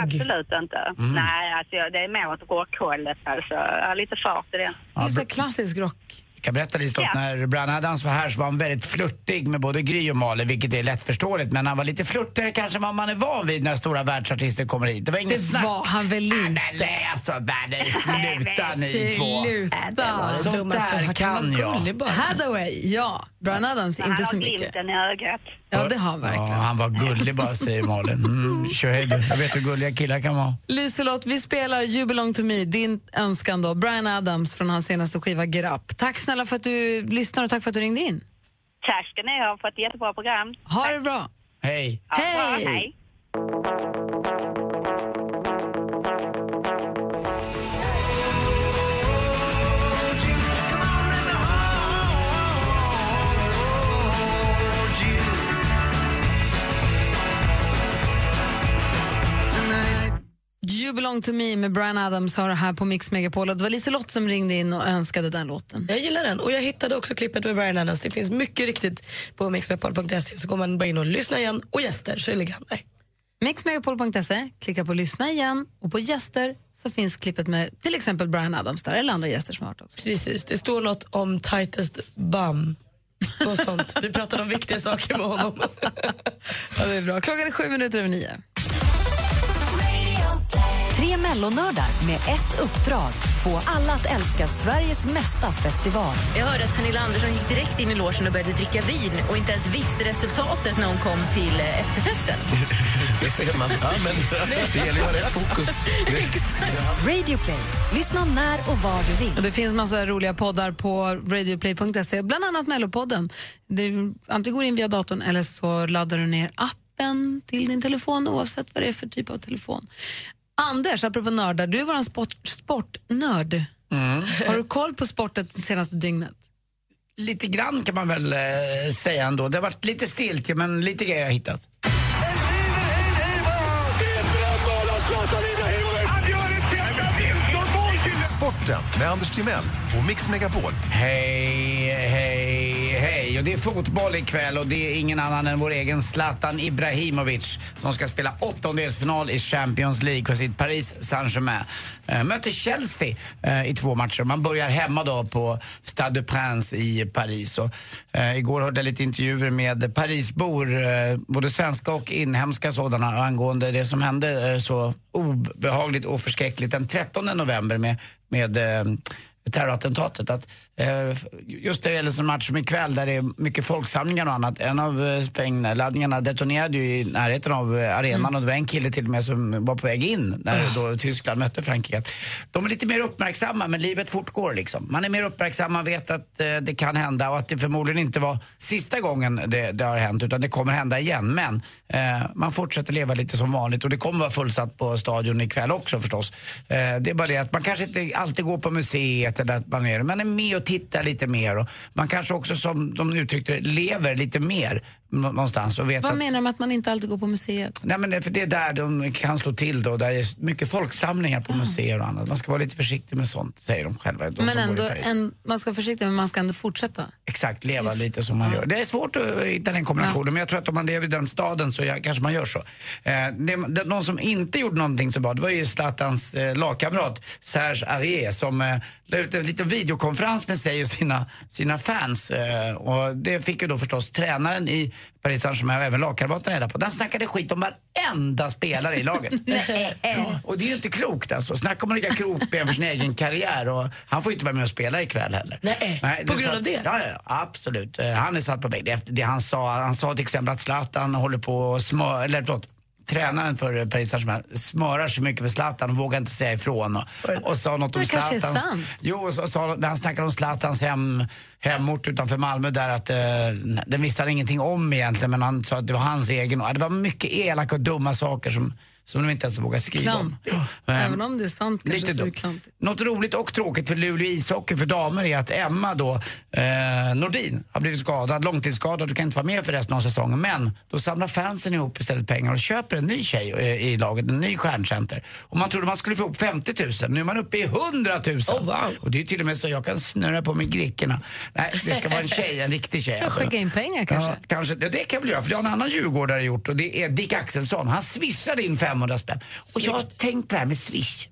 absolut inte. Mm. Nej, alltså jag- det är mer åt rockhållet alltså. Jag har lite fart i den. Ja, br- klassisk rock. Jag kan berätta Liselott, Ja. när Brian Adams var här så var han väldigt flörtig med både Gry och Malin, vilket är lättförståeligt. Men han var lite flörtigare kanske än vad man är van vid när stora världsartister kommer hit. Det var inget Det snack. var han väl inte? Nej, nej, alltså världen, sluta ni två. Sluta! Sånt där kan jag. Hathaway, ja. Brian Adams, inte så mycket. Han har glimten i ögat. Ja, det har han verkligen. Ja, han var gullig bara, säger Malin. Mm, kör hej du. Jag vet hur gulliga killar kan vara. Liselott, vi spelar You belong to me, din önskan då. Brian Adams från hans senaste skiva Grapp. Tack snälla för att du lyssnar och tack för att du ringde in. Tack ska ni ha för ett jättebra program. Ha det bra. Hej. Ja, bra, Hej. hej. You belong to me med Brian Adams har det här på Mix Megapol. Och Det var Liselott som ringde in och önskade den låten. Jag gillar den och jag hittade också klippet med Brian Adams. Det finns mycket riktigt på mixmepal.se så går man bara in och lyssnar igen och gäster så ligger han där. Mixmegapol.se, klicka på lyssna igen och på gäster så finns klippet med till exempel Brian Adams där eller andra gäster som har varit också. Precis, det står något om tightest bum. Något sånt. Vi pratade om viktiga saker med honom. Ja, det är bra. Klockan är sju minuter över nio. Tre mellonördar med ett uppdrag. Få alla att älska Sveriges mesta festival. Jag hörde att Pernilla Andersson gick direkt in i logen och började dricka vin och inte ens visste resultatet när hon kom till eh, efterfesten. [laughs] Det ser man. Ja, [laughs] men det gäller ju att ha rätt fokus. Radioplay. Lyssna när och var du vill. Och det finns massa roliga poddar på radioplay.se, bland annat Mellopodden. Du antingen går in via datorn eller så laddar du ner appen till din telefon oavsett vad det är för typ av telefon. Anders, apropå nördar, du är vår sport, sportnörd. Mm. Har du koll på sportet det senaste dygnet? Lite grann kan man väl eh, säga ändå. Det har varit lite stilt, men lite grejer har jag hittat. Sporten med Anders Timell och Mix Megapol. Hej, hej, hej. Och det är fotboll ikväll och det är ingen annan än vår egen Zlatan Ibrahimovic som ska spela åttondelsfinal i Champions League för sitt Paris Saint-Germain. Eh, möter Chelsea eh, i två matcher. Man börjar hemma då på Stade de Prince i Paris. Och, eh, igår hörde jag lite intervjuer med Parisbor, eh, både svenska och inhemska sådana, angående det som hände eh, så obehagligt och förskräckligt den 13 november med, med eh, terrorattentatet. Att, eh, just när det gäller en match som ikväll där det är mycket folksamlingar och annat. En av eh, sprängladdningarna detonerade ju i närheten av eh, arenan och det var en kille till och med som var på väg in när då Tyskland mötte Frankrike. Att De är lite mer uppmärksamma men livet fortgår liksom. Man är mer uppmärksam, man vet att eh, det kan hända och att det förmodligen inte var sista gången det, det har hänt utan det kommer hända igen. Men eh, man fortsätter leva lite som vanligt och det kommer vara fullsatt på stadion ikväll också förstås. Eh, det är bara det att man kanske inte alltid går på museet eller att man är, man är med och tittar lite mer och man kanske också som de uttryckte det, lever lite mer. nå- någonstans och vet Vad att... menar du med att man inte alltid går på museet? Nej, men det, för det är där de kan slå till då. Där det är mycket folksamlingar på museer och annat. Man ska vara lite försiktig med sånt, säger de själva. De Mm. men som bor i ändå, Paris. en, man ska vara försiktig men man ska ändå fortsätta. Exakt, leva lite som man gör. Det är svårt att hitta den kombinationen, men jag tror att om man lever i den staden så ja, kanske man gör så. Eh, det, det, någon som inte gjorde någonting så bra, det var ju Zlatans eh, lagkamrat Serge Aurier som eh, la ut en liten videokonferens med sig och sina, sina fans. Eh, och det fick ju då förstås tränaren i Paris Saint-Germain och även lagkamraten reda på. Den snackade skit om varenda spelare i laget. Ja, och det är ju inte klokt alltså. Snacka om att lägga krokben för sin egen karriär. Och han får ju inte vara med och spela ikväll heller. Nej, på är grund så att- av det? Ja, ja, absolut. Eh, Han är satt på bänk. Det är efter det han sa. Han sa till exempel att Zlatan håller på och smör, eller förlåt, tränaren för eh, Paris Saint-Germain smörar så mycket för Zlatan och vågar inte säga ifrån. Och, och sa något om Det kanske är Zlatans... sant. Jo, och så, sa, när han snackade om Zlatans hem, hemort utanför Malmö där att eh, den visste han ingenting om egentligen men han sa att det var hans egen. Och, det var mycket elaka och dumma saker som, som de inte ens vågar skriva om. Klantigt. Ja. Även om det är sant kanske Lite så är det dumt. klantigt. Något roligt och tråkigt för Luleå ishockey för damer är att Emma då, eh, Nordin har blivit skadad, långtidsskadad och kan inte vara med för resten av säsongen. Men då samlar fansen ihop istället pengar och köper en ny tjej eh, i laget, en ny stjärncenter. Och man trodde man skulle få ihop 50 000, nu är man uppe i 100 000. Oh, Och det är ju till och med så jag kan snurra på mig grickorna. Nej, det ska vara en tjej, en riktig tjej. Jag alltså. skicka in pengar kanske. Ja, kanske. Det, det kan vi göra, för det har en annan djurgårdare gjort och det är Dick Axelsson. Han swishade in 500 spänn. Och jag har tänkt på det här med swish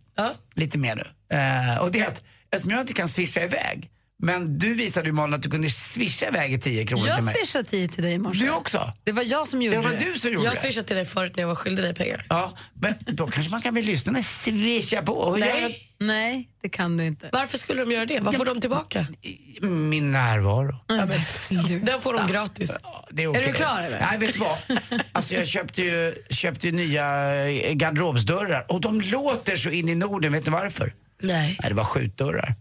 lite mer nu. Eh, och det är att eftersom jag inte kan swisha iväg, men du visade ju Malin att du kunde swisha iväg 10 kronor Jag till mig. swishade 10 till dig i morse. Du också? Det var jag som gjorde Det det. var du som gjorde jag det. swishade till dig förut när jag var skyldig dig pengar. Ja, men då kanske man kan bli lyssnarna swisha på. Och jag- Nej. Nej, det kan du inte. Varför skulle de göra det? Vad får de tillbaka? Min närvaro. Ja, men, den får de gratis. Det okej. Är du klar, eller? Nej, vet du vad? Alltså, jag köpte ju, köpte ju nya eh, garderobsdörrar och de låter så in i Norden. Vet du varför? Nej. Nej, det var skjutdörrar.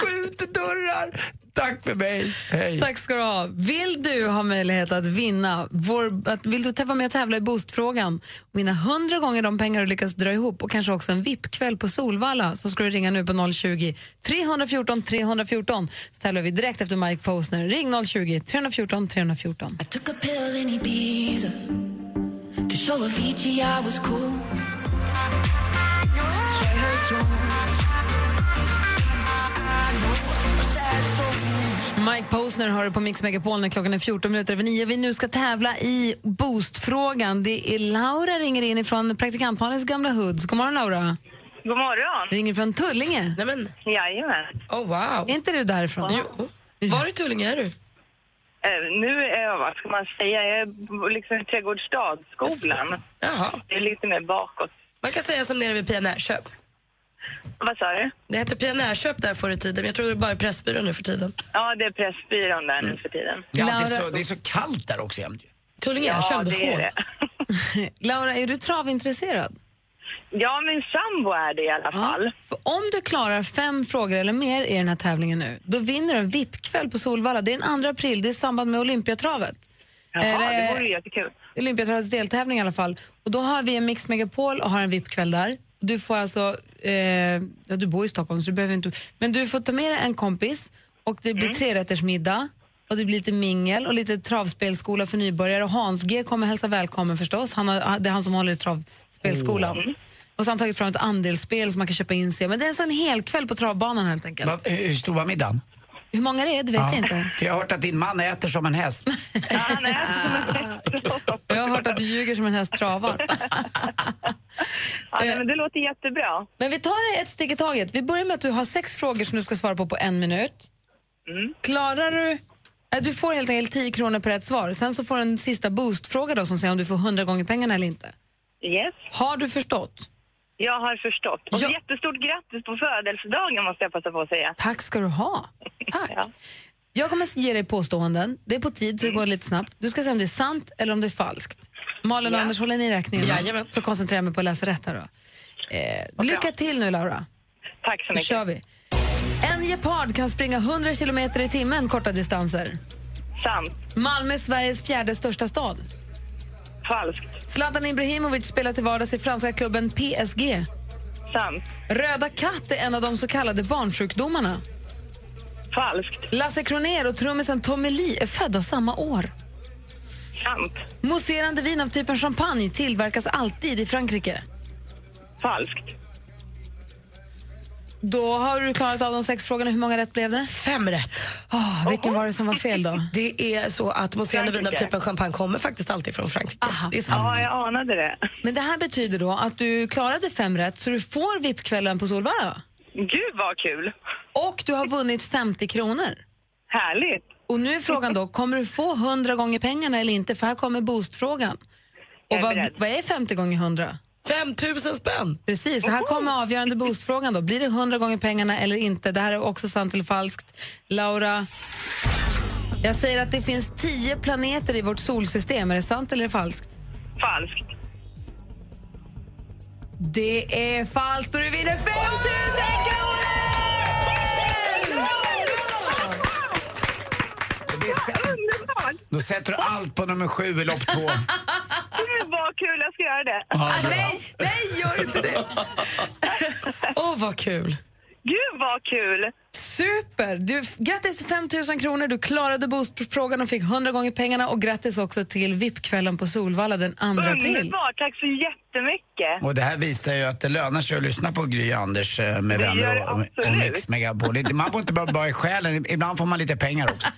Skjutdörrar! Tack för mig. Hej. Tack ska du ha. Vill du ha möjlighet att vinna, vår, att, vill du vara med och tävla i Boostfrågan och vinna hundra gånger de pengar du lyckas dra ihop och kanske också en VIP-kväll på Solvalla så ska du ringa nu på 020-314 314 så tävlar vi direkt efter Mike Posner. Ring 020-314 314. Took a pill in Ibiza to show Avicii I was cool. Mike Posner hör du på Mix Megapol när klockan är 14 minuter över 9. Vi nu ska tävla i Boostfrågan. Det är Laura ringer in ifrån praktikantmalens gamla hoods. God morgon Laura. God morgon. Ringer från Tullinge. Nej, men. Jajamän. Oh, wow. Är inte du därifrån? Var i Tullinge är du? Eh, Nu är jag, vad ska man säga, jag är liksom i Trädgårdsstadsskolan. Det är lite mer bakåt. Man kan säga som nere vid Pionjärköp. Vad sa du? Det hette Pionjärköp där förr i tiden, men jag tror det är bara är Pressbyrån nu för tiden. Ja, det är Pressbyrån där nu för tiden. Ja, det, är så, det är så kallt där också jämt. ju. Tullinge Ja, är det är köldhår. det. [laughs] [laughs] Laura, är du travintresserad? Ja, min sambo är det i alla fall. För om du klarar fem frågor eller mer i den här tävlingen nu, då vinner du en VIP-kväll på Solvalla. Det är den 2 april, det är i samband med Olympiatravet. Jaha, Eller- det vore ju jättekul. Olympiatravets deltävling i alla fall. Och då har vi en Mix Megapol och har en VIP-kväll där. Du får alltså, eh, ja, du bor i Stockholm så du behöver inte, men du får ta med dig en kompis och det blir trerättersmiddag och det blir lite mingel och lite travspelskola för nybörjare och Hans G kommer hälsa välkommen förstås. Han har, det är han som håller i travspelskolan. Och så har han tagit fram ett andelsspel som man kan köpa in sig i. Men det är alltså en hel kväll på travbanan helt enkelt. Va, hur stor var middagen? Hur många det är, det vet jag inte. För jag har hört att din man äter som en [laughs] häst. Jag har hört att du ljuger som en häst travar. [laughs] Ja, nej, men det låter jättebra. Men vi tar det ett steg i taget. Vi börjar med att du har sex frågor som du ska svara på på en minut. Klarar du... eh, Du får helt enkelt 10 kronor per rätt svar. Sen så får du en sista boostfråga då som säger om du får 100 gånger pengarna eller inte. Yes, Har du förstått? jag har förstått. Och jättestort grattis på födelsedagen måste jag passa på att säga. Tack ska du ha. Tack. Jag kommer ge dig påståenden. Det är på tid så det går lite snabbt. Du ska säga om det är sant eller om det är falskt. Malin och Ja. Anders håller ni räkningen? va? Jajamän. Så koncentrerar jag mig på att läsa rätt här då. Eh, lycka till nu Laura. Tack så Nu mycket. kör vi. En gepard kan springa 100 kilometer i timmen korta distanser. Sant. Malmö är Sveriges fjärde största stad. Falskt. Zlatan Ibrahimovic spelar till vardags i franska klubben PSG. Sant. Röda katt är en av de så kallade barnsjukdomarna. Falskt. Lasse Kronér och trummisen Tommy Lee är födda samma år. Sant. Mousserande vin av typen champagne tillverkas alltid i Frankrike. Falskt. Då har du klarat av de sex frågorna. Hur många rätt blev det? Fem rätt. Oh, vilken var det som var fel då? Det är så att mousserande vin av Frankrike. typen champagne kommer faktiskt alltid från Frankrike. Det är sant. jag anade det. Men det här betyder då att du klarade fem rätt så du får VIP-kvällen på Solvalla. Gud vad kul! Och du har vunnit 50 kronor. Härligt! Och nu är frågan då, kommer du få 100 gånger pengarna eller inte? För här kommer boostfrågan. Och vad, vad är 50 gånger 100? 5000 spänn! Precis, här kommer avgörande boostfrågan då. Blir det 100 gånger pengarna eller inte? Det här är också sant eller falskt. Laura, jag säger att det finns 10 planeter i vårt solsystem. Är det sant eller är det falskt? Falskt. Det är falskt och du vinner 5000 kronor! Då sätter du allt på nummer sju i lopp två. Gud vad kul, jag ska göra det. Ja, bra. nej, nej, gör inte det! Åh, vad kul! Gud vad kul! Super! Du, grattis till 5 000 kronor, du klarade boostfrågan och fick 100 gånger pengarna och grattis också till VIP-kvällen på Solvalla den 2 april. Underbart, tack så jättemycket. Och det här visar ju att det lönar sig att lyssna på Gry och Anders eh, med Det gör vänner det och, och absolut. Mix Megapol. Det är inte- Man får inte bara bara i själen, ibland får man lite pengar också.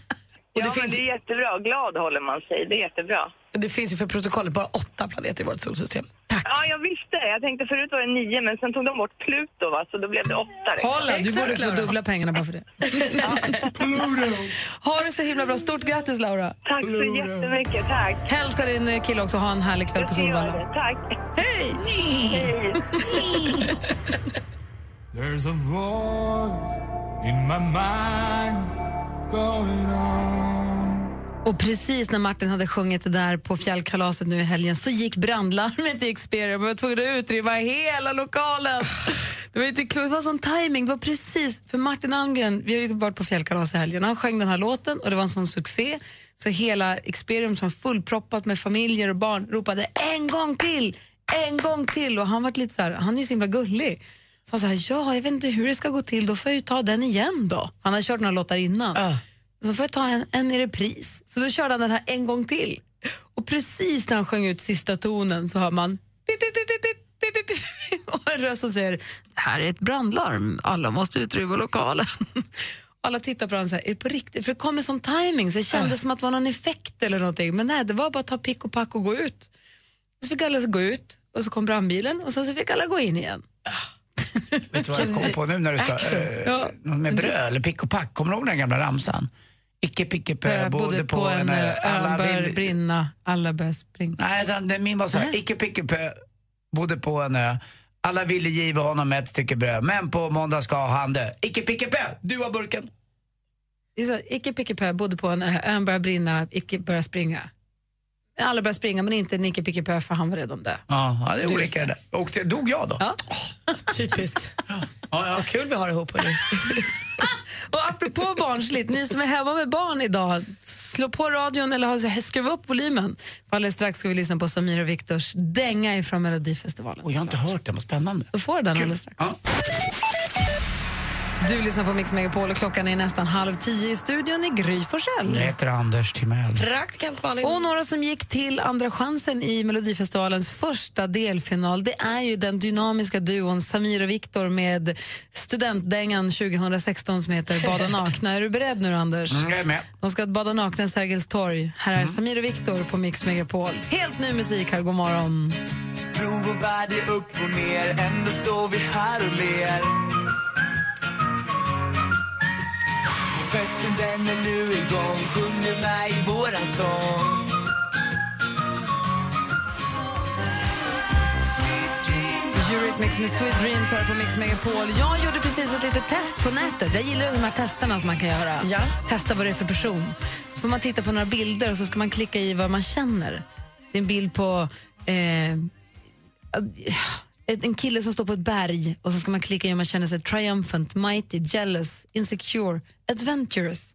ja, men det är jättebra. Glad håller man sig. Det är jättebra. Det finns ju för protokollet bara åtta planeter i vårt solsystem. Ja, jag visste. Jag tänkte förut var det nio, men sen tog de bort Pluto, va? så då blev det åtta. liksom. Kolla, du borde få dubbla pengarna bara för det. ha det så himla bra. Stort grattis, Laura. Tack så jättemycket. Tack. Hälsa din eh, kille också. Ha en härlig kväll på Jag ska göra Solvalla. det. Tack. Hej! There's a voice in my mind going on. Och precis när Martin hade sjungit det där på fjällkalaset nu i helgen så gick brandlarmet i Xperia. Vi var tvungna att utrymma hela lokalen. Det var inte klokt. Det var sån timing. Det var precis för Martin Almgren, vi har ju varit på fjällkalas i helgen, han sjöng den här låten och det var en sån succé så hela Xperium som var fullproppat med familjer och barn ropade en gång till, en gång till och han var lite så här, han är ju så himla gullig. Så han sa ja, jag vet inte hur det ska gå till, då får jag ju ta den igen då. Han har kört några låtar innan. Så får jag ta en, en i repris. Så då körde han den här en gång till. Och precis när han sjöng ut sista tonen så hör man pip, pip, pip, pip, pip, pip, pip, pip. och en röst som säger det här är ett brandlarm, alla måste utrymma lokalen. [laughs] Alla tittar på honom så här, är det på riktigt? För det kom en sån timing så det Ah. kändes som att det var någon effekt eller någonting. Men nej, det var bara att ta pick och pack och gå ut. Så fick alla gå ut och så kom brandbilen och sen så fick alla gå in igen. Vet du vad jag kom på nu när du sa Action. eh, Ja. något med bröd eller pick och pack? Kommer du ihåg den gamla ramsan? Icke picke Eh, pö, bodde på en ö, alla bör vill... eh, brinna, alla bör springa. Nej, utan det- min var så här, icke picke pö, bodde på en ö. Alla ville giva honom ett stycke bröd, men på måndag ska han dö. Icke picke pö, du har burken. Det är så, Icke Pickepö bodde på en ö, ön började brinna, Icke började springa. Alla började springa men inte Nicke Pickepö för han var redan död. Ja, ja, det är olika det där. Och det- dog jag då? Ja. Typiskt. Vad kul vi har ihop, hörni. Och apropå barnsligt, ni som är hemma med barn idag, slå på radion eller har- skruva upp volymen. För alldeles strax ska vi lyssna på Samir och Viktors dänga ifrån Melodifestivalen. Och jag har inte hört den, vad spännande. Då får du den alldeles strax. Du lyssnar på Mix Megapol och klockan är nästan halv tio i studion i Gry Forssell. Jag heter Anders Timell. Praktikant Malin. Och några som gick till Andra chansen i Melodifestivalens första delfinal det är ju den dynamiska duon Samir och Viktor med studentdängan 2016 som heter Bada nakna. är du beredd nu, Anders? Mm, jag är med. De ska bada nakna i Sergels torg. Här är Samir och Viktor på Mix Megapol. Helt ny musik här, god morgon. Prov och värde upp och ner, ändå står vi här och ler. Festen den är nu igång, sjung nu med i våran sång. Eurythmics med Sweet Dreams har på Mix Megapol. Jag gjorde precis ett litet test på nätet. Jag gillar de här testerna som man kan göra. Testa vad det är för person. Så får man titta på några bilder och så ska man klicka i vad man känner. Det är en bild på eh, ett- eh, en kille som står på ett berg och så ska man klicka i om man känner sig triumphant, mighty, jealous, insecure, adventurous,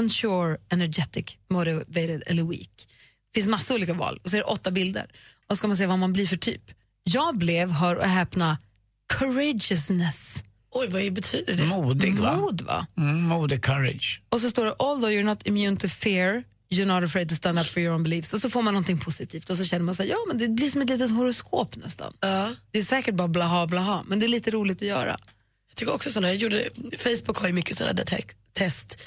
unsure, energetic, motivated eller weak. Det finns massa olika val och så är det åtta bilder. Och så ska man se vad man blir för typ. Jag blev, hör och häpna, courageousness. Oj, vad betyder det? Modig, va? Mod, va? Mm, modig courage. Och så står det although you're not immune to fear You're not afraid to stand up for your own beliefs. Och så får man någonting positivt och så känner man sig ja men det blir som ett litet horoskop nästan. Det är säkert bara blaha blaha, men det är lite roligt att göra. Jag tycker också sådana, jag gjorde, Facebook har ju mycket sådana där te- test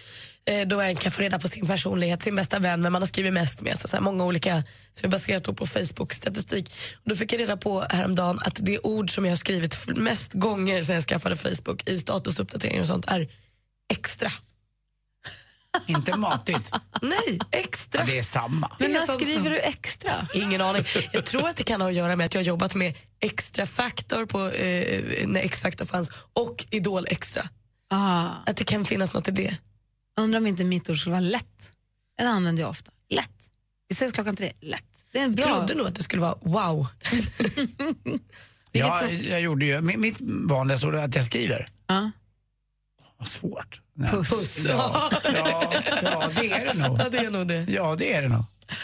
eh, då en kan få reda på sin personlighet, sin bästa vän, vem man har skrivit mest med. Så så här, många olika som är baserat då på Facebook-statistik. Och då fick jag reda på häromdagen att det ord som jag har skrivit f- mest gånger sedan jag skaffade Facebook i statusuppdateringar och sånt är extra. Inte [laughs] matigt. Nej, extra. Ja, det är samma. Men när Det är sånt skriver som- du extra? Ingen aning. Jag tror att det kan ha att göra med att jag har jobbat med Extra Factor på, eh, när X-Factor fanns och Idol Extra. Ah. Att det kan finnas något i det. Undrar om inte mitt ord skulle vara lätt. Det använder jag ofta. Lätt. Vi ses klockan tre. Lätt. Det är en bra... Jag trodde nog att det skulle vara wow. Ja, jag gjorde ju, mitt, mitt vanligaste ord är att jag skriver. Ja. Vad svårt. Puss. Ja, ja, ja, det är det nog. Ja, det är nog det. Ja, det är det nog.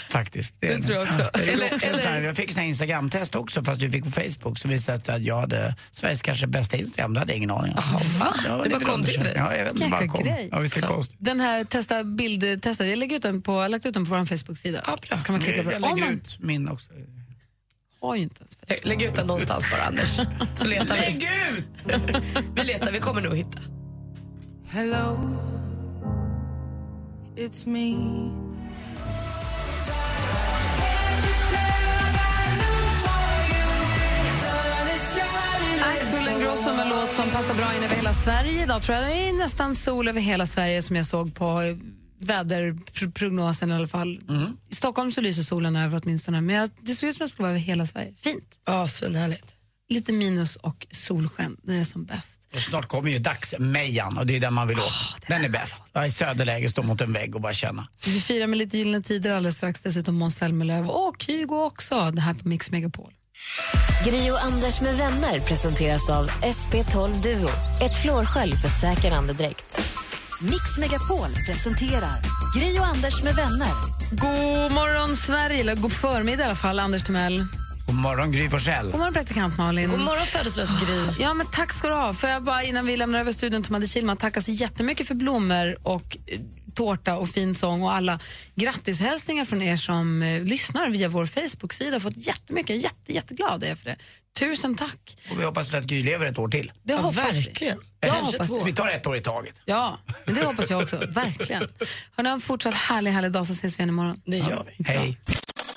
Faktiskt. Det, är det tror jag nog. också. Ja, jag, Eller- gjorde också en sån här- eller- jag fick sån här Instagram-test också fast du fick på Facebook som visade att jag hade Sveriges kanske bästa Instagram. Det hade jag ingen aning om. va? Ja, Det bara lite kom till undersökning. dig? Ja, jag vet inte, Jäkla bara kom. grej. Ja, visst är det konstigt. Den här testa bild testa, jag lägger ut den på, jag har lagt ut den på vår Facebook-sida. Så kan man klicka på Jag den. Oh lägger Om man ut min också. har ju inte ens Facebook. Lägg ut den någonstans bara, Anders. Så letar vi. Lägg ut! vi letar, vi kommer nog hitta. Hello, it's me. Axel Ingrosso med en låt som passar bra in över hela Sverige. Idag tror jag det är nästan sol över hela Sverige som jag såg på eh, väderprognosen i alla fall. Mm. I Stockholm så lyser solen över åtminstone, men jag, det ser ut som att det ska vara över hela Sverige. Fint. Ja, svinhärligt. Lite minus och solsken när det är som bäst. Och snart kommer ju dagsmejan och det är den man vill åt. den är bäst. Ja, I söderläge, stå mot en vägg och bara känna. Vi firar med lite Gyllene Tider alldeles strax, dessutom Måns Zelmerlöw och Kygo också, det här på Mix Megapol. Gri och Anders med vänner presenteras av SP12 Duo. Ett flårskölj för säker andedräkt. Mix Megapol presenterar Gri och Anders med vänner. God morgon Sverige, eller god förmiddag i alla fall, Anders Timell. God morgon Gry Forssell. God morgon praktikant Malin. God morgon, födelsedagsgry. Ja, men tack ska du ha. Får jag bara innan vi lämnar över studion till Madde Kihlman tacka så jättemycket för blommor och eh, tårta och fin sång och alla grattishälsningar från er som eh, lyssnar via vår Facebook-sida. Jag har Fått jättemycket, Jag är jätte, jätteglad är jag för det. Tusen tack. Och vi hoppas att Gry lever ett år till. Det ja, hoppas vi. verkligen. Jag Kanske hoppas två. det. Vi tar ett år i taget. Ja, men det hoppas jag också. Verkligen. Hörni, ha en fortsatt härlig, härlig dag så ses vi igen imorgon. Det gör vi. Hej.